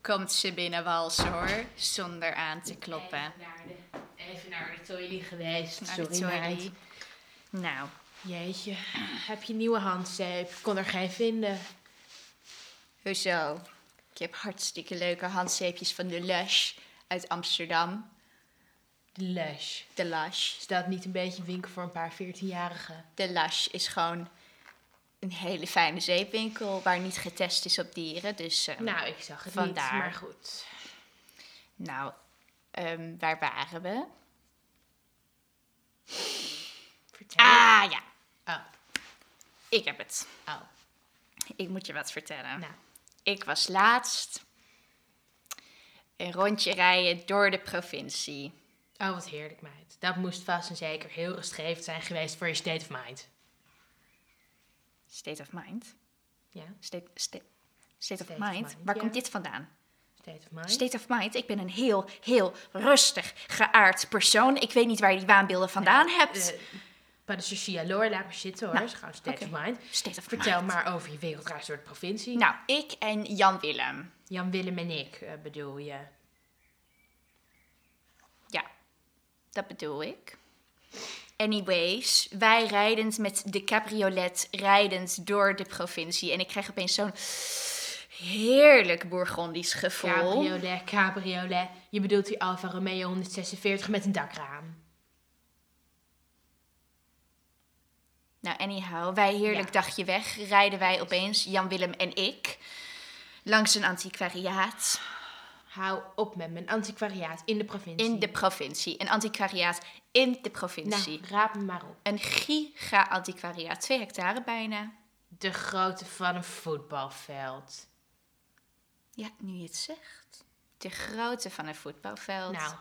komt ze binnen walsen hoor, zonder aan te kloppen. Even naar de, even naar de toilet geweest. Naar de Sorry, toilet. meid. Nou, Jeetje, heb je nieuwe handzeep? Ik kon er geen vinden. hoezo? Ik heb hartstikke leuke handzeepjes van de Lush uit Amsterdam. De Lush. De Lush. Is dat niet een beetje winkel voor een paar 14-jarigen? De Lush is gewoon een hele fijne zeepwinkel waar niet getest is op dieren. Dus eh, Nou, ik zag het Vandaar. niet, maar goed. Nou, ehm, waar waren we? Vertel. Ah ja, Oh, ik heb het. oh. Ik moet je wat vertellen. Nou, Ik was laatst een rondje rijden door de provincie. oh, wat heerlijk, meid. Dat moest vast en zeker heel rustgevend zijn geweest voor je state of mind. State of mind. Ja, State, state, state of State of mind. mind, Waar ja. Hm? komt dit vandaan? state of mind. State of mind. Ik ben een heel, heel rustig geaard persoon. Ik weet niet waar je die waanbeelden vandaan hebt. Eh, Maar de Sophia Loor, laat maar zitten hoor. Nou, Dat is gewoon state oké. of mind. state of Vertel mind. maar over je wereldreis door de provincie. Nou, ik en Jan Willem. Jan Willem en ik eh, bedoel je. Ja, dat bedoel ik. Anyways, wij rijdend met de cabriolet, rijdend door de provincie. En ik krijg opeens zo'n heerlijk Bourgondisch gevoel. Cabriolet, cabriolet. Je bedoelt die Alfa Romeo 146 met een dakraam. Nou, anyhow, wij heerlijk Ja. dagje weg rijden wij opeens, Jan Willem en ik, langs een antiquariaat Hou op met mijn antiquariaat in de provincie. in de provincie. Een antiquariaat in de provincie. Nou, raap me maar op. Een giga-antiquariaat, twee hectare bijna. De grootte van een voetbalveld. Ja, nu je het zegt. De grootte van een voetbalveld. Nou,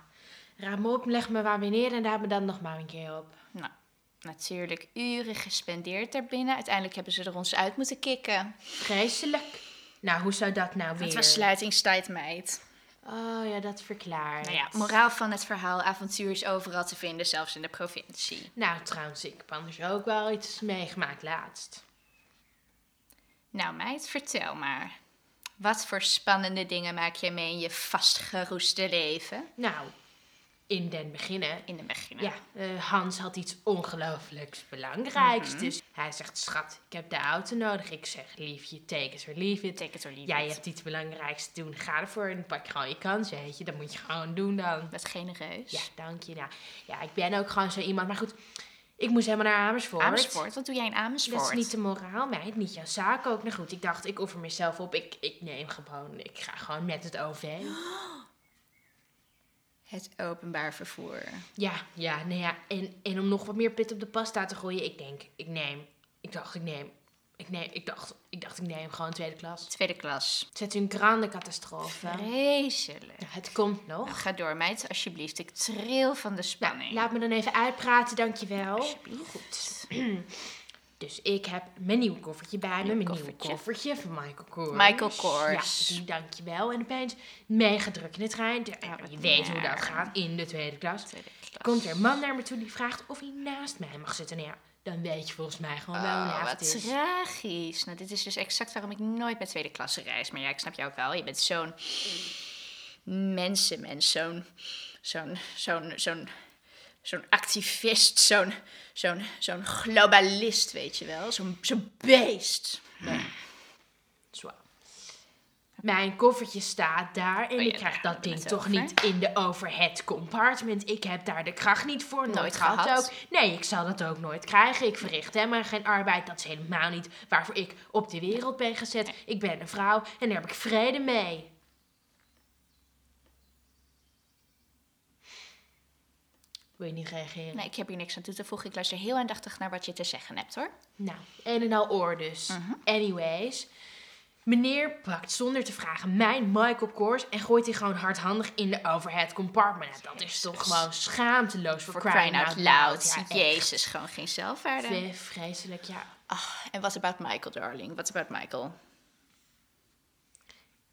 raap me op, leg me waar we neer en raap me dan nog maar een keer op. Nou, natuurlijk uren gespendeerd daarbinnen. Uiteindelijk hebben ze er ons uit moeten kicken. Vreselijk. Nou, hoe zou dat nou weer? Het was sluitingstijd, meid. Oh ja, dat verklaart. Nou ja, moraal van het verhaal. Avontuur is overal te vinden, zelfs in de provincie. Nou, trouwens, ik heb anders ook wel iets meegemaakt laatst. Nou, meid, vertel maar. Wat voor spannende dingen maak je mee in je vastgeroeste leven? Nou, in den beginnen In de begin. Ja, eh, Hans had iets ongelooflijks belangrijks. Mhm. Dus hij zegt, schat, ik heb de auto nodig. Ik zeg, liefje, take it or leave it. Take it or leave Jij it. hebt iets belangrijks te doen. Ga ervoor en pak gewoon je kans, weet je. Dat moet je gewoon doen dan. Wat genereus. Ja, dank je. Nou, ja, ik ben ook gewoon zo iemand. Maar goed, ik moest helemaal naar Amersfoort. Amersfoort, wat doe jij in Dat Amersfoort? is niet de moraal, meid. Niet jouw zaak ook. Nou goed, ik dacht, ik offer mezelf op. Ik, ik neem gewoon, ik ga gewoon met het OV. Het openbaar vervoer. Ja, ja, nou ja. En, en om nog wat meer pit op de pasta te gooien, ik denk, ik neem. Ik dacht, ik neem. Ik, neem, ik, dacht, ik dacht, ik neem gewoon tweede klas. Tweede klas. Het is een grande catastrofe. Vreselijk. Ja, Het komt nog. Ga door, meid, alsjeblieft. Ik tril van de spanning. Laat me dan even uitpraten, dankjewel. Alsjeblieft. Goed. Dus ik heb mijn nieuw koffertje bij me. Mijn koffertje. nieuwe koffertje van Michael Kors. Michael Kors. Ja, die dankjewel. En opeens mega druk in de trein. De- Ja, wat je weet hoe naar. dat gaat in de tweede klas. Tweede klas. Komt er een man naar me toe die vraagt of hij naast mij mag zitten. Nou ja, dan weet je volgens mij gewoon wel hoe Oh, laat wat het is. tragisch. Nou, dit is dus exact waarom ik nooit met tweede klasse reis. Maar ja, ik snap jou ook wel. Je bent zo'n mensenmens, zo'n zo'n zo'n zo'n zo'n activist, zo'n zo'n zo'n globalist, weet je wel, zo'n zo'n beest. Zo. Mijn koffertje staat daar en Oh ja, ik daar krijg hadden dat we ding het toch over. niet in de overhead compartment. Ik heb daar de kracht niet voor, nooit, Nooit gehad. gehad. ook. Nee, ik zal dat ook nooit krijgen. Ik verricht helemaal geen arbeid. Dat is helemaal niet waarvoor ik op de wereld ben gezet. Ik ben een vrouw en daar heb ik vrede mee. Wil je niet reageren? Nee, ik heb hier niks aan toe te voegen. Ik luister heel aandachtig naar wat je te zeggen hebt, hoor. Nou, een en al oor dus. Mhm. Anyways. Meneer pakt zonder te vragen mijn Michael Kors en gooit die gewoon hardhandig in de overhead compartment. Nou, Dat is toch gewoon schaamteloos voor, Voor crying out loud. Ja, echt. Jezus, gewoon geen zelfwaarde. Vre- Vreselijk, ja. Ah, en what about Michael, darling? What about Michael?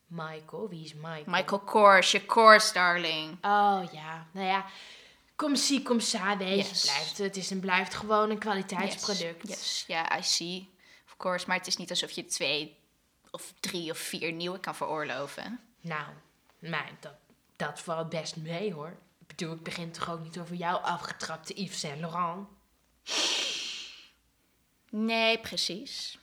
Michael, wie is Michael? Michael Kors, je Kors, darling. Oh ja, nou ja. Kom zie, kom sa, weet je. Yes. Het Blijft, het is en blijft gewoon een kwaliteitsproduct. Yes, ja, I see. Of course, maar het is niet alsof je twee of drie of vier nieuwe kan veroorloven. Nou, mijn, dat, dat valt best mee hoor. Ik bedoel, ik begin toch ook niet over jouw afgetrapte Yves Saint Laurent. Nee, precies.